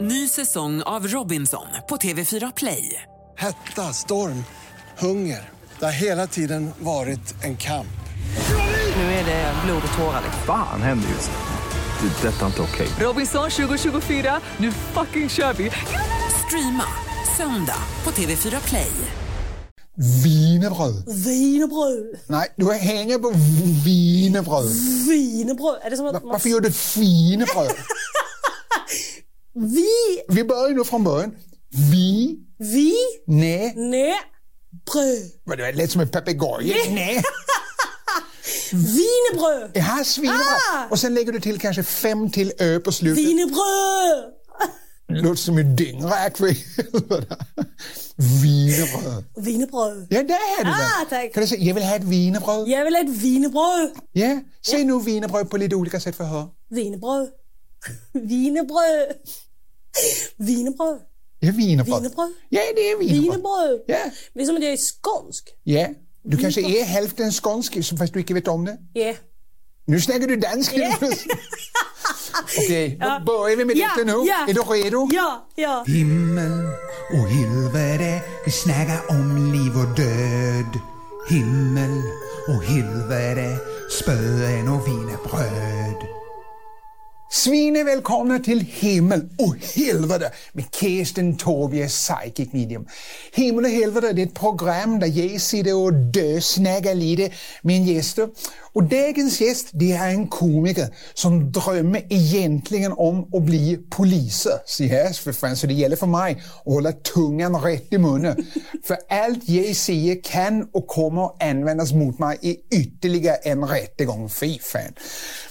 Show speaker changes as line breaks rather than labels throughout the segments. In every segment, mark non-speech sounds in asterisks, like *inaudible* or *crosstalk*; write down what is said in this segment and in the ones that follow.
Ny säsong av Robinson på TV4 Play.
Hetta, storm, hunger. Det har hela tiden varit en kamp.
Nu är det blod och tårar. liksom.
Fan händer just nu. Det. är Detta är inte okej.
Robinson 2024, nu fucking kör vi! Streama söndag på TV4 Play.
Vinerbröd.
Wienerbröd.
Nej, du hänger på vinerbröd.
Wienerbröd. Är det som att man...
Varför gör du finebröd?
Vi...
Vi börjar nu från början. Vi,
Vi...
nej.
Nej. Bröd.
Men det lät som en papegoja. Nej.
Wienerbröd.
Jag har svinbra.
Ah!
Och sen lägger du till kanske fem till ö på slutet.
Wienerbröd.
Det låter som en dyngräk för helvete. Wienerbröd.
Wienerbröd.
Ja, där är du
Ah,
den.
tack.
Kan du säga, jag vill ha ett wienerbröd. Ja.
Jag vill ha ett wienerbröd.
Säg nu wienerbröd på lite olika sätt för att höra.
Wienerbröd. *laughs* Wienerbröd. Wienerbröd.
Ja, wienerbröd.
Wienerbröd.
Ja, det är wienerbröd.
Wienerbröd.
Ja.
Det är som att jag är skånsk.
Ja, du kanske är hälften skånsk så fast du inte vet om det.
Ja.
Nu snackar du danska.
*laughs*
Okej, då börjar vi med
Ja,
detta nu.
ja.
Är du redo?
Ja, ja.
Himmel och helvete, vi snackar om liv och död. Himmel och helvete, spöen och wienerbröd.
Svin är välkomna till Himmel och helvete med Kirsten Tobias Psychic Medium. Himmel och helvete det är ett program där jag sitter och dösnackar lite med en gäster. Och dagens gäst det är en komiker som drömmer egentligen om att bli poliser. Så, yes, för fan, så det gäller för mig att hålla tungan rätt i munnen. för allt jag säger kan och kommer att användas mot mig i ytterligare en rättegång. Fy fan.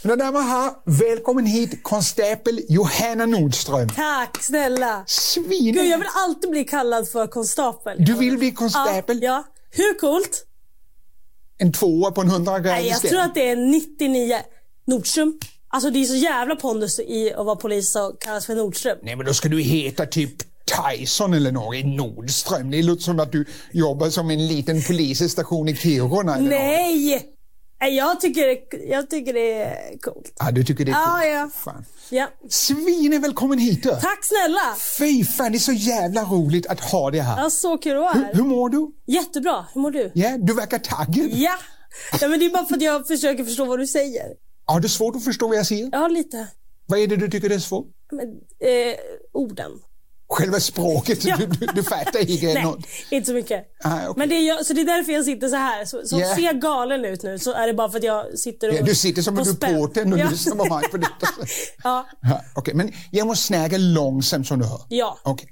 Mina damer och herrar, välkommen hit konstapel Johanna Nordström.
Tack snälla.
Svin!
Gud, jag vill alltid bli kallad för konstapel.
Du vill bli konstapel?
Ja, ja. Hur coolt?
En tvåa på en
Nej,
hundragradig
jag tror att det är 99. Nordström. Alltså det är så jävla pondus i att vara polis och kallas för Nordström.
Nej, men då ska du heta typ Tyson eller något. Nordström. Det låter som att du jobbar som en liten polisstation i Kiruna. eller något.
Nej! Nej, Jag tycker, det- jag tycker det är coolt.
Ja, du tycker det är
Ja,
coolt.
ja.
Fan.
Ja.
Svin är välkommen hit du.
Tack snälla!
Fy fan, det är så jävla roligt att ha dig här.
Ja, så kul att vara
Hur,
här.
hur mår du?
Jättebra, hur mår du?
Ja, du verkar taggad.
Ja! ja men det är bara för att jag försöker förstå vad du säger.
Har du svårt att förstå vad jag säger?
Ja, lite.
Vad är det du tycker är svårt?
Men, eh, orden.
Själva språket,
Ja.
du, du, du fattar inte
Nej,
något.
inte så mycket.
Ah, okej.
Men det är, jag, så det är därför jag sitter så här. Så, så
Ja.
ser jag galen ut nu så är det bara för att jag sitter och...
Ja, du sitter som en
och spänn.
reporter och
Ja.
lyssnar på mig på detta.
Ja.
Ja, Okej, men jag måste snacka långsamt som du hör.
Ja.
Okej.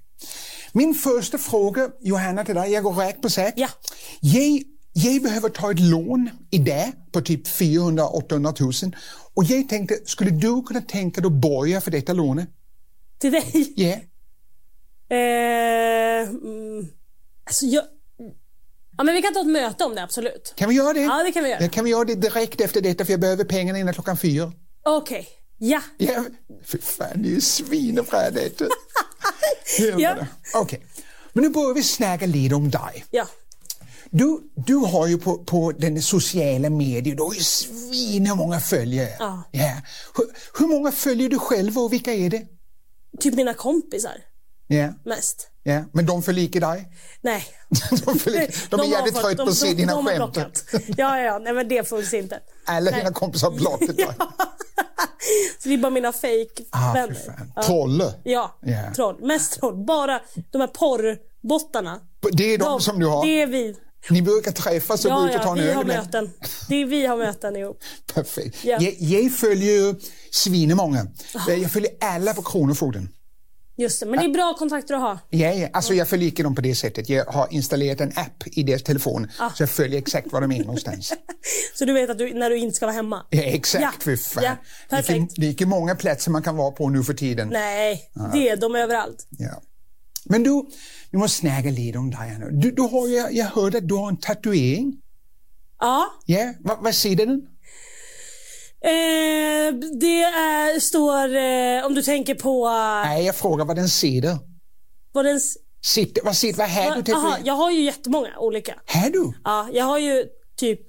Min första fråga, Johanna, till dig. Jag går rakt på sak.
Ja.
Jag, jag behöver ta ett lån idag på typ 400-800 000. Och jag tänkte, skulle du kunna tänka dig att borga för detta lånet? *laughs*
Till dig.
Ja.
Eh, mm, alltså jag... Ja men vi kan ta ett möte om det absolut.
Kan vi göra det?
Ja, det kan vi göra.
Ja, kan vi göra det direkt efter detta för jag behöver pengarna innan klockan fyra.
Okej. Ja.
Ja, för fan, det är ju svinebra detta.
*laughs*
Helvete. Okej, men nu börjar vi snacka lite om dig.
Ja.
Du, du har ju på, på den sociala medier, du har ju svinmånga följare.
Ja.
Hur, hur många följer du själv och vilka är det?
Typ mina kompisar
Ja,
mest.
ja. Men de följer inte dig? *laughs*
Nej.
De, följer, de, är
har
jävligt
fått-
trötta på att se dina
de har
skämt.
blockat. Ja, ja, ja. Nej men det funkar inte.
*laughs* Alla
Nej.
dina kompisar har blockat dig.
*laughs* Så det är bara mina fake
Ah, för
vänner.
fan.
Ja.
Trolle.
Ja,
Ja.
troll. Mest troll. Bara de här porrbottarna.
Det är de, som du har.
Det är vi.
Ni brukar träffas och gå
Ja,
ut och
ja,
ta en
vi
öl
har
ibland.
möten. Det är vi har möten ihop.
Perfekt.
Ja. Ah.
Jag, jag följer ju svinemånga. Jag följer alla på Kronofogden.
Just det, men det är bra kontakter att ha. *laughs*
Ja, ja. Alltså, jag följer inte dem på det sättet. Jag har installerat en app i deras telefon
Ah.
så jag följer exakt var de är någonstans.
Så du vet att du, när du inte ska vara hemma.
Ja, exakt,
Ja.
för fan.
Ja,
det, är,
perfekt.
det är inte många platser man kan vara på nu för tiden.
Nej, det är de överallt.
Ja. Men du, vi måste snacka lite om dig. här nu. Du, du har, jag, jag hörde att du har en tatuering.
Ja,
Ja, va, vad säger den?
eh, det är, står, eh, om du tänker på eh,
Nej, jag frågar vad den sitter.
vad den... s-
Sitter, vad sitter, vad här du
Aha,
tatuerar?
jag har ju jättemånga olika.
Här du?
Ja, jag har ju typ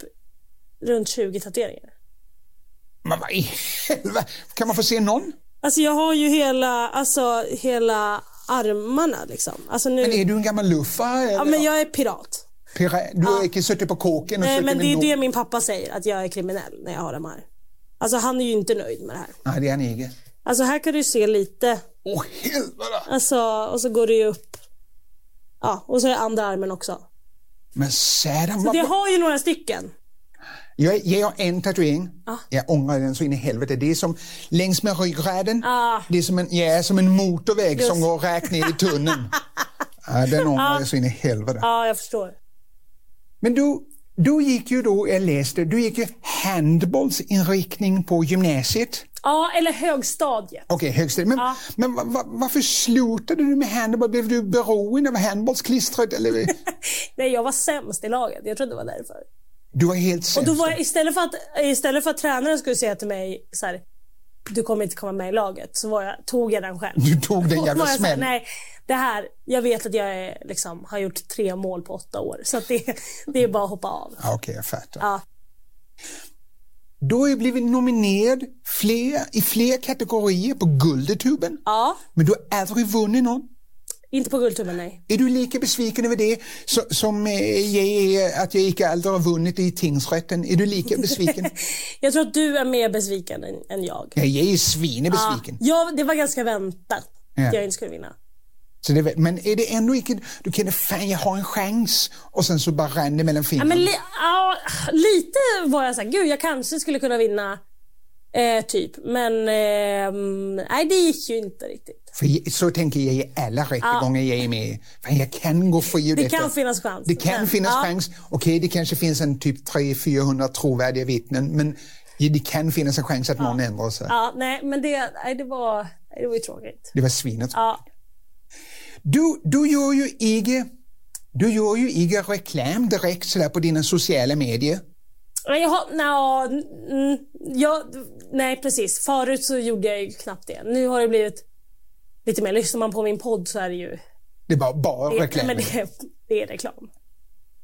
runt 20 tatueringar.
Men vad i helvete? Kan man få se någon?
Alltså jag har ju hela, alltså hela armarna liksom. Alltså nu,
Men är du en gammal luffa? Eller?
ja, men jag är pirat.
Pira- Du har inte suttit på kåken och
Nej
suttit
men
med
det är
någon-
det min pappa säger, att jag är kriminell när jag har de här. Alltså han är ju inte nöjd med det här.
Nej, det är han inte.
Alltså här kan du se lite,
Åh helvete!
alltså och så går det ju upp. Ja, och så är andra armen också.
Men sedan,
Så
vad-
det har ju några stycken.
jag, jag har en tatuering. Jag ångrar den så in i helvete. Det är som längs med ryggraden.
Ah.
Det är som en, ja, som en motorväg
Just.
som går rakt ner i
*laughs*
tunneln. ja, den ångrar jag så in i helvete.
Ja, jag förstår.
Men du, du gick ju då, jag läste, du gick ju handbollsinriktning på gymnasiet.
Ja, eller högstadiet.
Okej, högstadiet. Men, men va, va, varför slutade du med handboll? Blev du beroende av handbollsklistret?
*laughs*
Eller?
Nej, jag var sämst i laget. Jag tror det var därför.
Du var helt
Och då
sämst.
var jag, istället, för att, istället för att tränaren skulle säga till mig så här, du kommer inte komma med i laget, så var jag, tog jag den själv.
Du tog
*laughs*
den
Då
jävla
var jag så här,
smällen.
Nej, det här, jag vet att jag är, liksom, har gjort tre mål på åtta år, så att det, det är bara att hoppa av.
Ja, Okej, jag fattar.
Ja.
Du har ju blivit nominerad fler, i fler kategorier på Guldetuben.
Ja,
Men du har aldrig vunnit någon.
inte på Guldtuben, nej.
Är du lika besviken över det så, som eh, jag är att jag inte aldrig har vunnit i tingsrätten? Är du lika
*laughs*
besviken?
Jag tror att du är mer besviken än, än jag.
ja, jag är svinebesviken.
Ja, det var ganska väntat
Ja.
att jag inte skulle vinna.
Så det, är väl- men är det ändå inte, du känner fan jag har en chans och sen så bara rann det mellan
Ja,
fingrarna.
men li, ja, lite var jag såhär, gud jag kanske skulle kunna vinna. Eh, typ, men ehm, nej det gick ju inte riktigt.
För jag, så tänker jag i alla rättegångar jag är med i. Fan jag kan gå fri ur
Det
detta.
kan finnas chans.
Det kan
Men,
finnas
ja.
chans. Okej, det kanske finns en typ 300-400 trovärdiga vittnen men det kan finnas en chans att någon ändrar sig.
Ja, nej men det, nej, det, var, nej, det var ju tråkigt.
Det var svinet.
Ja,
Du, du gör ju inte du gör ju inte reklam direkt sådär på dina sociala medier.
men jag har, nja, mm, jag, nej precis. Förut så gjorde jag ju knappt det. Nu har det blivit lite mer, lyssnar man på min podd så är det ju
Det är bara, bara
det,
reklam. Alltså,
men det, det är reklam.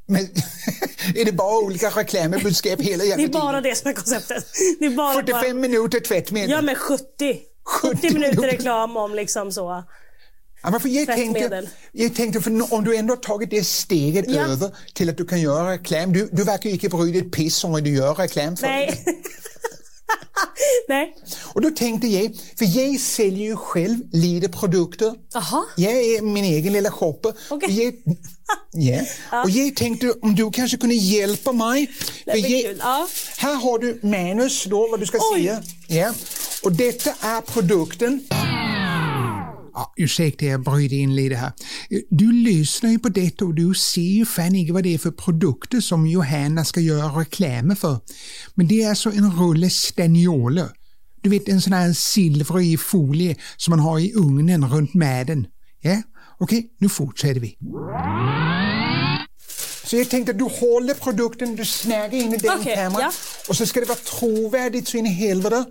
Men, *laughs* är det bara olika reklambudskap hela jävla
Det är
tiden?
bara det som är konceptet. Det är bara,
45 minuter tvättmedel.
Ja men 70.
70
70 minuter
minuter.
reklam om liksom så.
Ja, men för jag, tänkte,
Tvättmedel.
jag tänkte, för nå- om du ändå har tagit det steget
Ja.
över till att du kan göra reklam. Du, du verkar ju inte bry dig ett piss om vad du gör reklam för.
Nej.
*laughs*
Nej.
Och då tänkte jag, för jag säljer ju själv lite produkter.
Jaha.
Jag är min egen lilla shopper.
Okej.
Och, jag,
*laughs*
ja. och jag tänkte om du kanske kunde hjälpa mig. För
Det blir
jag,
kul. Ja.
här har du manus då, vad du ska
Oj.
säga. Ja. Och detta är produkten. Ja, ursäkta, jag bryter in lite här. Du lyssnar ju på detta och du ser ju fan inte vad det är för produkter som Johanna ska göra reklam för. Men det är alltså en rulle stanioler. Du vet en sån här silvrig folie som man har i ugnen runt maden. Ja, okej, nu fortsätter vi. Så jag tänkte att du håller produkten, du snäger in i den
Okej,
kameran
ja.
och så ska det vara trovärdigt så in i helvete.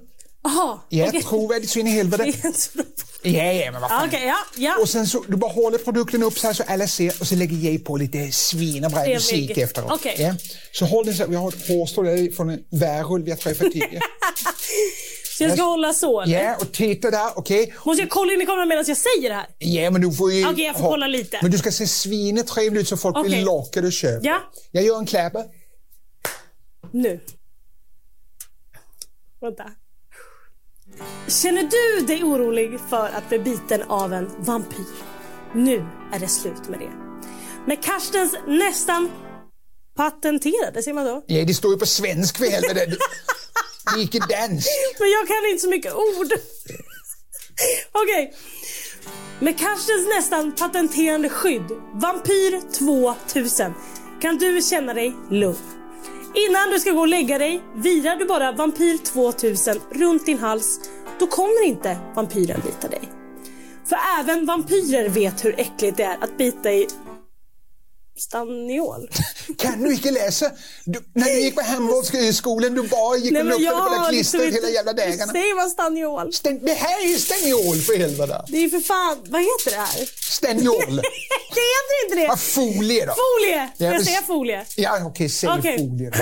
Jaha.
Ja,
okej.
trovärdigt så in i helvete.
*laughs* Det är inte så bra.
Ja, ja, men vad
Ja,
fan.
Okej, ja. ja.
Och sen så, du bara håller produkten upp så här så alla ser och så lägger jag på lite svinbra
Trevlig.
musik efteråt.
Okej.
Ja. Så håll den så här, vi har ett hårstrå där från en värulv vi har träffat
*laughs*
tidigare.
Så jag ska hålla så eller?
ja, och titta där, okej.
Måste jag kolla in i kameran medan jag säger det här?
Ja, men du får ju...
Okej, jag får
ha-
kolla lite.
Men du ska se svinetrevlig ut så folk blir
Okej.
lockade och köper.
Ja.
Jag gör en klapper.
Nu. Vänta. Känner du dig orolig för att bli biten av en vampyr? Nu är det slut med det. Med Karstens nästan patenterade, säger man då?
Ja, det står ju på svensk för helvete. Det- Det är inte dans.
Men jag kan inte så mycket ord. Okej. Med Karstens nästan patenterande skydd, Vampyr 2000, kan du känna dig lugn. Innan du ska gå och lägga dig virar du bara Vampyr 2000 runt din hals. Då kommer inte vampyren bita dig. För även vampyrer vet hur äckligt det är att bita i
*laughs*
staniol.
Kan du inte läsa? Du, när du gick på handbollsskolan, du bara gick och luktade på det där
liksom
klistret hela jävla dagarna.
Säger man staniol?
Sten, det här är ju steniol för helvete!
Det är ju för fan, vad heter det här?
Steniol!
*laughs* det heter inte det!
Ja, folie då!
Folie!
Ja,
Får jag
men-
säga folie?
Ja, okej, säg
Okej.
folie då.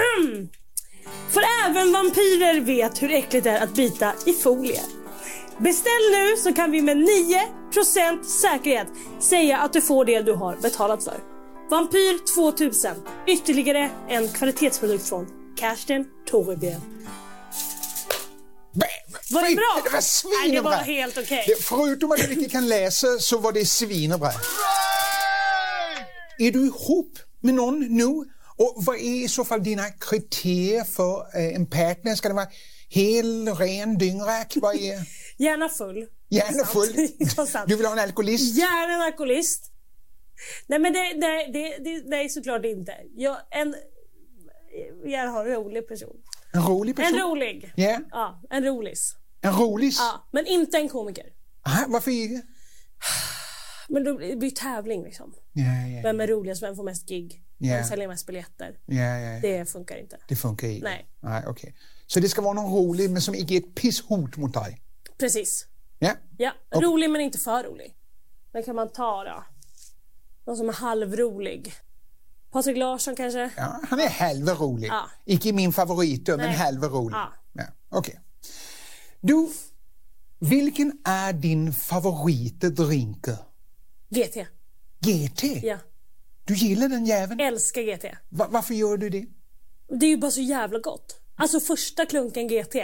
För även vampyrer vet hur äckligt det är att bita i folie. Beställ nu så kan vi med 9% säkerhet säga att du får det du har betalat för. Vampyr 2000. Ytterligare en kvalitetsprodukt från Kerstin Torebjer. Var det bra?
Det var svinbra!
Nej, det var helt okej.
Det- Förutom att du inte kan läsa så var det svinbra. Är du ihop med någon nu? Och vad är i så fall dina kriterier för eh, en partner? Ska det vara hel, ren, dyngrak? Vad
*laughs*
är...
Gärna full.
Gärna full.
Det var sant.
Du vill ha en alkoholist?
Gärna en alkoholist. Nej men det, det, det, det, nej såklart inte. Jag, en, jag har en rolig person.
En rolig person?
En rolig.
Ja.
Ja, en rolis.
En rolig?
Ja, men inte en komiker.
Aha, Varför är det?
Men då blir det blir tävling liksom.
Ja, ja,
Vem är roligast? Vem får mest gig?
Ja.
Vem säljer mest biljetter?
ja, ja. Det,
Det funkar inte.
funkar inte?
Nej.
Nej okej. Så det ska vara någon rolig men som inte är ett pisshot mot dig?
Precis.
Ja.
Ja, rolig men inte för rolig. Vem kan man ta då? Någon som är halvrolig. Patrik Larsson kanske?
Ja, han är halvrolig.
Ja.
Icke min favorit då, men
Nej.
halvrolig.
Ja.
Ja. Okej. Du, vilken är din favoritdrink?
GT.
GT?
Ja,
Du gillar den jäveln?
älskar GT.
Va- varför gör du det?
Det är ju bara så jävla gott. Alltså första klunken GT.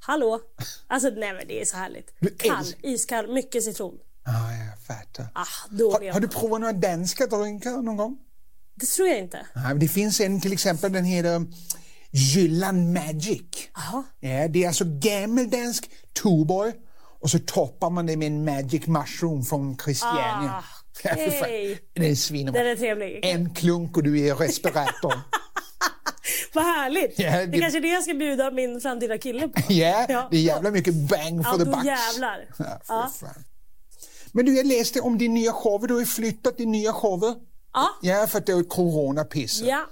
Hallå? Alltså nej men det är så härligt.
Du
Kall,
älskar-
iskall, mycket citron.
Ah, jag fattar.
Ah, då
Har,
vet
har du
man.
provat några danska drinkar någon gång?
Det tror jag inte.
Ja, men det finns en till exempel, den heter um, Gyllan Magic.
Jaha.
Ja, det är alltså gammeldansk Tuborg och så toppar man det med en magic mushroom från Christiania.
Ah,
*laughs* Ja, för fan.
okej.
Den är svinbra.
Den är trevlig.
En klunk och du är
*laughs*
respirator.
Vad härligt!
Ja,
det...
det-
är kanske är det jag ska bjuda min framtida kille på.
*laughs* ja,
Ja.
det är jävla mycket bang for
Ja,
the
då
bucks.
jävlar.
Ja, för
Ja.
fan. Men du, jag läste om din nya show. Du har ju flyttat din nya show.
Ja.
Ja, för att det är coronapiss.
Ja.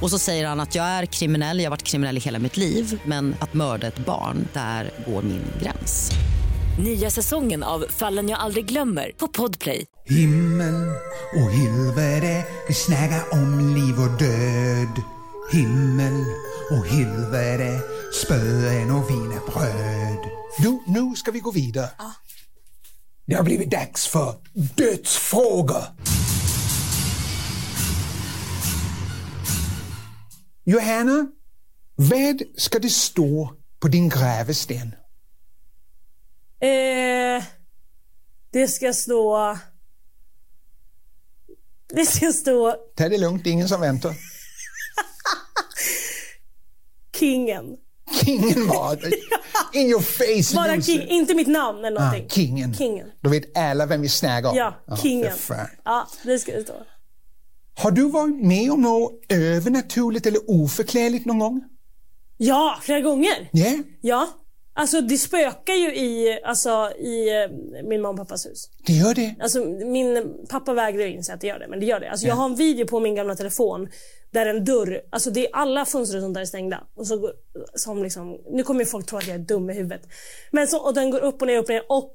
Och så säger han att jag är kriminell, jag har varit kriminell i hela mitt liv men att mörda ett barn, där går min gräns.
Nya säsongen av Fallen jag aldrig glömmer på Podplay.
Himmel och helvete, vi snackar om liv och död. Himmel och helvete, spöen och vinerbröd.
Nu, nu ska vi gå vidare. Det har blivit dags för dödsfrågor. Johanna, vad ska det stå på din grävesten?
Eh, det ska stå... Det ska stå
Ta det lugnt, det är ingen som väntar.
kingen.
Kingen
*laughs*
var det. In your face,
Bara
loser.
king, inte mitt namn eller
Ah,
någonting.
kingen.
Kingen.
Då vet alla vem vi snackar om.
Ja,
Ah,
kingen.
för fan.
Ja, det ska det stå.
Har du varit med om något övernaturligt eller oförklarligt någon gång?
Ja, flera gånger.
Ja.
Ja. Alltså det spökar ju i, alltså, i eh, min mamma och pappas hus.
Det gör det.
Alltså, min pappa vägrar ju inse att det gör det, men det gör det. Alltså, Jag har en video på min gamla telefon där en dörr, alltså det är alla fönster och sånt där är stängda. Och så går, som liksom, nu kommer ju folk tro att jag är dum i huvudet. Men så, och den går upp och ner, upp och ner. Och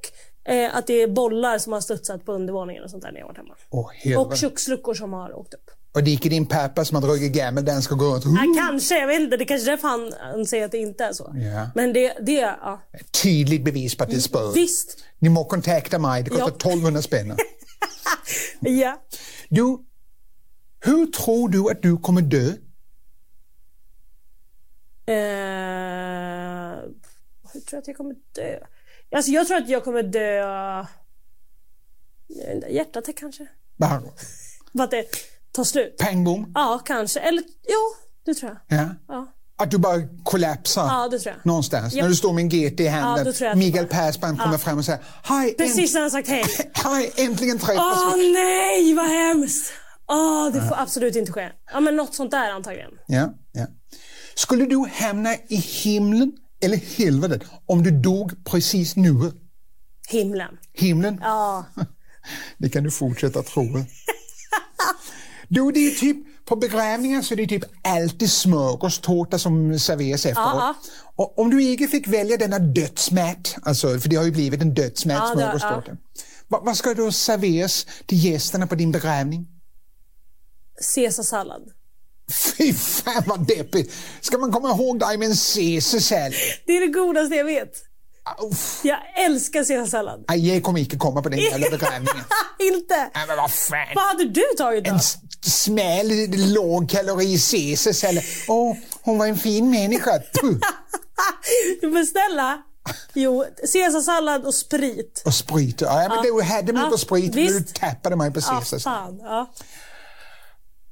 eh, att det är bollar som har studsat på undervåningen och sånt där när jag har varit hemma.
Åh,
Och
helvete.
köksluckor som har åkt upp.
Och det är inte din pappa som har druckit gammeldansk och går runt.
Ja, kanske, jag vet inte. Det är kanske är därför han, han säger att det inte är så.
Ja.
Men det, det ja.
Tydligt bevis på att det är spöet.
Visst.
Ni må kontakta mig, det kostar
Ja.
1200 spänn.
*laughs* Ja.
Du, hur tror du att du kommer dö?
Eh, hur tror jag att jag kommer dö? Alltså jag tror att jag kommer dö... Jag vet inte, Hjärtattack kanske?
Bara
För att det tar slut?
pang bom.
Ja, kanske. Eller jo, det tror jag.
Ja.
Ja,
Att du bara kollapsar
ja det tror jag.
någonstans.
Ja.
När du står med en GT i
Ja,
handen.
då tror jag att det
Mikael
var-
Persbrandt kommer
Ja.
fram och säger Hej,
Precis när han sagt hej.
änt- hej äntligen träffas
Åh
vi.
nej, vad hemskt! Åh, det får absolut inte ske. Ja, men något sånt där antagligen.
Ja, ja. Skulle du hamna i himlen eller helvetet om du dog precis nu?
Himlen.
Himlen?
Ja.
*laughs* Det kan du fortsätta
*laughs*
tro. Du, det är typ, på begravningar så är det typ alltid smörgåstårta som serveras efteråt.
Ja,
Och om du inte fick välja denna dödsmat, alltså, för det har ju blivit en dödsmat,
Ja, det-
smörgåstårta. Va, vad ska då serveras till gästerna på din begravning?
Caesarsallad.
*laughs* Fy fan vad deppigt! Ska man komma ihåg dig med en caesarsallad?
Det är det godaste jag vet.
Uff.
Jag älskar caesarsallad.
Nej, jag kommer inte komma på den jävla
*laughs*
begravningen.
inte!
Nej, men vad fan!
Vad hade du tagit då?
En s- smäll, lågkalori caesarsallad. Åh, hon var en fin människa. Puh.
Du beställa? Jo, caesarsallad och sprit.
Och sprit. Ja, men du hade mig
Ja,
på sprit, men du
visst.
tappade mig på
Ja,
caesarsallad.
Ah, fan. Ja.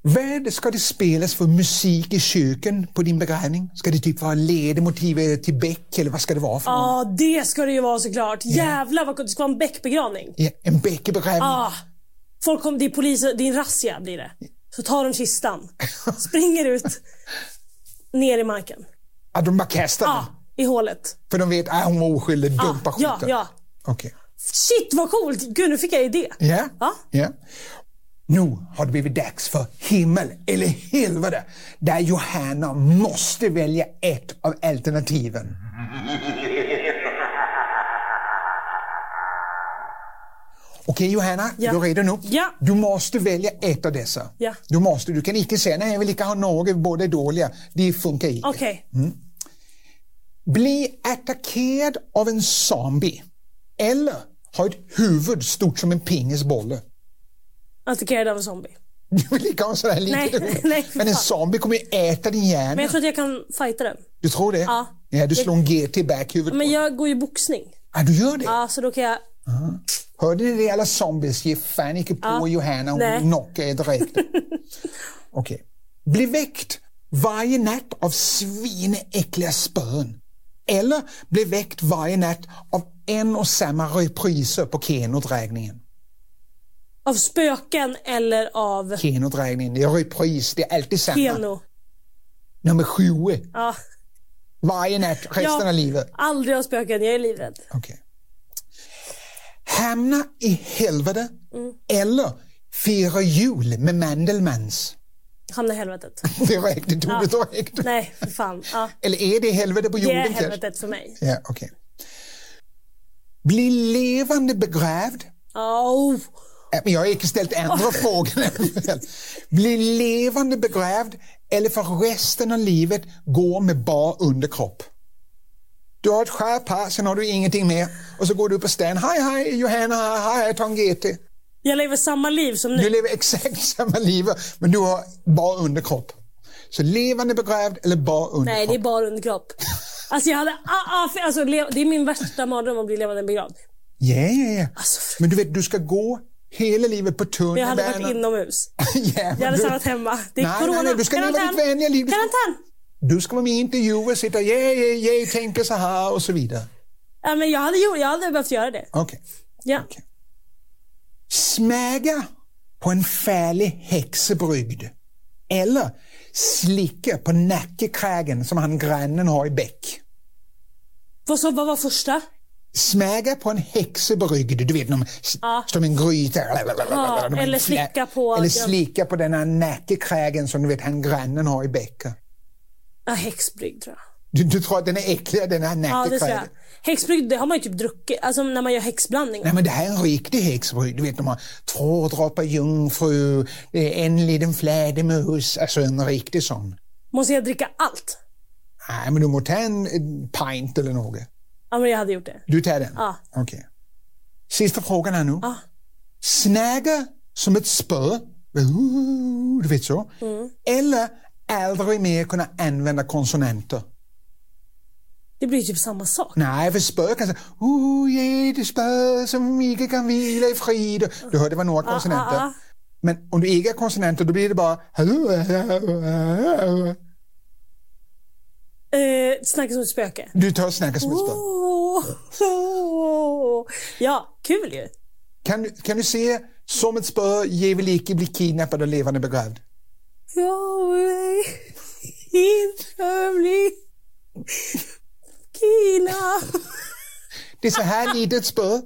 Vad ska det spelas för musik i köken på din begravning? Ska det typ vara ledemotiv eh, till Beck eller vad ska det vara för något?
ja, Ah, det ska det ju vara såklart. Jävlar vad gott. Det ska vara en bäckbegravning.
Ja, en Beck-begravning?
Ja. Folk kom, det är polisen, det är en razzia blir det. Så tar
*laughs*
de kistan, springer ut, ner i marken.
Att de bara kastar
Ja,
den?
i hålet.
För de vet att hon var oskyldig,
Ja,
dumpa
ja,
skiten?
ja.
Okej.
Shit vad coolt! Gud, nu fick jag idé.
Ja.
Ja.
ja. Nu har det blivit dags för himmel eller helvete där Johanna måste välja ett av
*laughs*
alternativen. Okej Johanna,
Ja.
du är redo nu?
Ja.
Du måste välja ett av dessa.
Ja.
Du måste, du kan inte säga nej jag vill inte ha något, båda är dåliga. Det funkar inte.
Okej.
Bli attackerad av en zombie eller ha ett huvud stort som en pingisbolle.
Attackerad av en Alltså, zombie.
Du vill inte ha en sån här liten
Nej,
hund.
nej, för
Men en
fan.
zombie kommer ju äta din hjärna.
Men jag tror att jag kan fighta den.
Du tror det?
Ja.
du slår en GT i bakhuvudet.
Men jag går ju boxning.
Ah, du gör det?
Ja, så då kan jag...
Hörde ni det alla zombies? Ge fan icke på
Ja.
Johanna, hon
Nej.
knockar er
*laughs*
direkt. Okej. Bli väckt varje natt av svinäckliga spön. Eller bli väckt varje natt av en och samma repriser på Keno-dragningen.
Av spöken eller av
Kenodrägningen, i repris, det är alltid samma.
Keno.
Nummer sju,
Ja,
varje natt resten
Ja.
av livet.
aldrig av spöken, jag är livrädd.
Okej. Hamna i helvete
Mm.
eller fira jul med Mandelmans.
Hamna i helvetet.
Direkt, du tog det direkt.
Nej, för fan.
*laughs*
Ja.
Eller är det helvete på
Det
jorden?
är
kanske?
helvetet för mig.
Ja, okej. Bli levande begravd.
Oh,
Äh, Men jag har inte ställt andra frågan. *laughs* än. Bli levande begravd eller för resten av livet gå med bar underkropp. Du har ett skärp här, sen har du ingenting mer och så går du upp på stan. Hej, hej Johanna, hej Tom GT.
jag lever samma liv som
Du
nu.
lever exakt *laughs* samma liv men du har bara underkropp. Så levande begravd eller bara underkropp?
Nej, det är bara under kropp. Alltså jag hade... Ah, ah, för, alltså, le, det är min värsta mardröm att bli levande begravd.
Ja, ja, ja.
Alltså, fru-
Men du vet, du ska gå hela livet på tunn
Men Jag hade
*laughs*
varit inomhus.
yeah,
Jag hade stannat hemma. Det är
Nej,
corona.
nej, nej, du ska leva
Karantän.
ditt vänliga liv. Du ska-
Karantän!
Du ska vara med i intervjuer, sitta ja, ja, ja, tänka så här och så vidare.
Ja, men jag, hade, gjort- jag hade behövt göra det.
Okej.
Ja.
Smäga på en färlig häxebrygd. Eller slicka på nackekragen som han grannen har i bäck.
Vad, så, vad var första?
Smäga på en häxebrygd, du vet, någon, s-
Ja.
som en gryta.
Ja,
De-
eller slicka på-
Eller slicka på den här nackekragen som du vet han grannen har i bäcken.
Ja, häxbrygd tror jag.
Du, du tror att den är äckligare, den här
Ja, det tror
nackekragen?
jag. Häxbrygd, det har man ju typ druckit. Alltså när man gör häxblandning.
Nej men det här är en riktig häxbrygd. Du vet de har två droppar jungfru, det är en liten fladdermus, alltså en riktig sån.
Måste jag dricka allt?
Nej men du må ta en, en pint eller något.
Ja, men jag hade gjort det.
Du tar den?
Ja.
Okej. Sista frågan här nu.
Ja.
Snäga som ett spö, Ooh, du vet så.
Mm.
Eller aldrig mer kunna använda konsonanter.
Det blir ju typ samma sak.
Nej, för spö kan säga oh, ge det spö som inte kan vila i frid. Du hörde, det var några konsonanter.
ah, ah.
Men om du inte har konsonanter då blir det bara
Eh, snacka som ett spöke.
Du tar och snackar som ett spö.
Oh, oh. *laughs* Ja, kul ju.
Kan, du- kan du se som ett spö, Jeveliki blir kidnappad och levande begravd?
Jag vill inte bli killa.
Det är så här litet spö.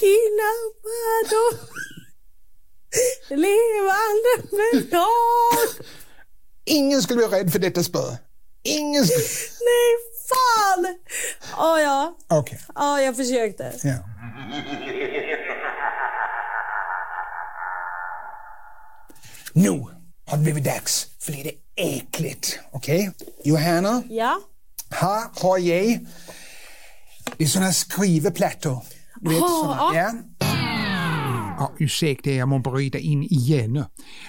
Kidnappad och levande begravd.
Ingen skulle bli rädd för detta spö. Ingen skulle...
Nej, fan! Ja, ja.
Okej,
Ja, jag försökte.
ja. Nu har det blivit dags för lite äckligt. Okej? Johanna,
Ja.
här har jag... Det är såna här skrivplattor. Du vet, såna. Ja. Ja, ursäkta, jag må bryta in igen. nu.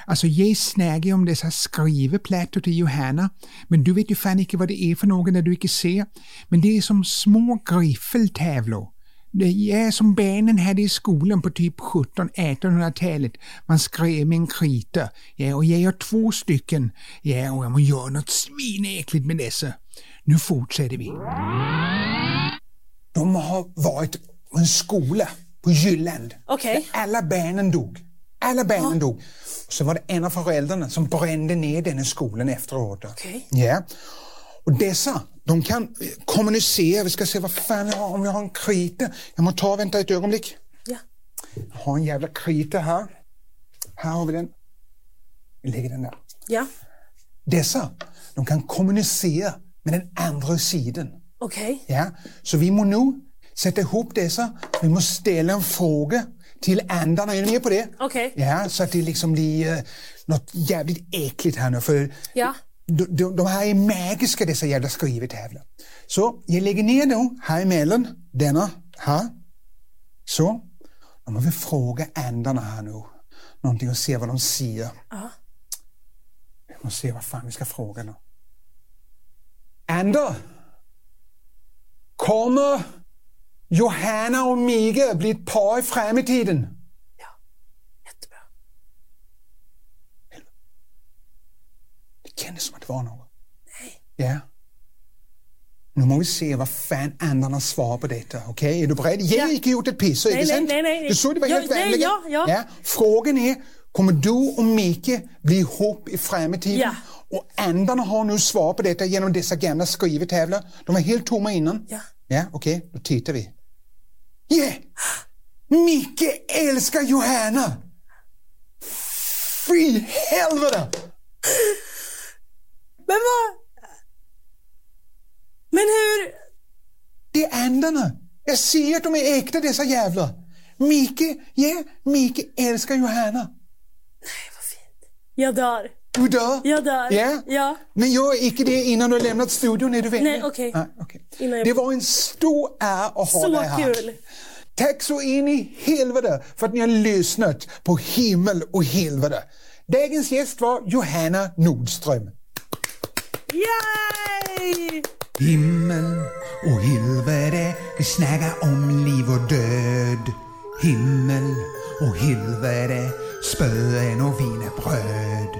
Alltså, jag snäger ju om dessa skrivplattor till Johanna, men du vet ju fan inte vad det är för något när du inte ser. Men det är som små griffeltavlor. Det är som barnen hade i skolan på typ 17-1800-talet. Man skrev med en krita. Ja, och jag har två stycken. Ja, och jag må göra något svinäckligt med dessa. Nu fortsätter vi. De har varit på en skola på Jylland.
Okej.
Där Alla barnen dog. Alla barnen dog. Så var det en av föräldrarna som brände ner den här skolan efteråt.
Okej.
Ja. Och dessa, de kan eh, kommunicera. Vi ska se vad fan jag har, om jag har en krita. Jag måste ta och vänta ett ögonblick.
Ja.
Jag har en jävla krita här. Här har vi den. Vi lägger den där.
Ja.
Dessa, de kan kommunicera med den andra sidan.
Okej.
Ja, så vi må nu sätta ihop dessa. Vi måste ställa en fråga till andarna. Är ni med på det?
Okej.
Ja, så att det liksom blir eh, något jävligt äckligt här nu. För
Ja.
de, de, de här är magiska dessa jävla skrivtavlor. Så jag lägger ner dem här emellan. Denna här. Så. Nu måste vi fråga andarna här nu. Någonting och se vad de säger.
Ja.
Vi måste se vad fan vi ska fråga nu. Ander! Kommer Johanna och Mika bli ett par i framtiden?
Jättebra.
Det kändes som att det var något. Nej. Ja. Nu må vi se vad fan andarna svarar på detta. Okej, är du beredd? Jag har
Ja.
inte gjort ett piss,
Nej,
inte
nej,
sant?
nej, nej.
Du såg, det var
Ja,
helt
nej,
vänliga.
ja, ja.
Frågan är, kommer du och Micke bli ihop i framtiden?
Ja.
Och andarna har nu svar på detta genom dessa gamla skrivetavlor. De var helt tomma innan.
Ja.
Ja, okej, då tittar vi. Yeah! Micke älskar Johanna! Fy helvete!
Men vad... Men hur...
Det är andarna. Jag ser att de är äkta dessa jävlar. Micke, ja, Micke älskar Johanna.
Jag dör.
Du dör.
Jag dör.
Ja.
Ja.
Men gör icke det innan du har lämnat studion, är du vänlig?
Nej, okej.
Ah, okej.
Innan jag-
Det var en stor ära att ha dig
Så
här.
kul.
Tack så in i helvete för att ni har lyssnat på Himmel och helvete. Dagens gäst var Johanna Nordström.
Yay!
Himmel och helvete, vi snackar om liv och död. Himmel och helvete, spöen och wienerbröd.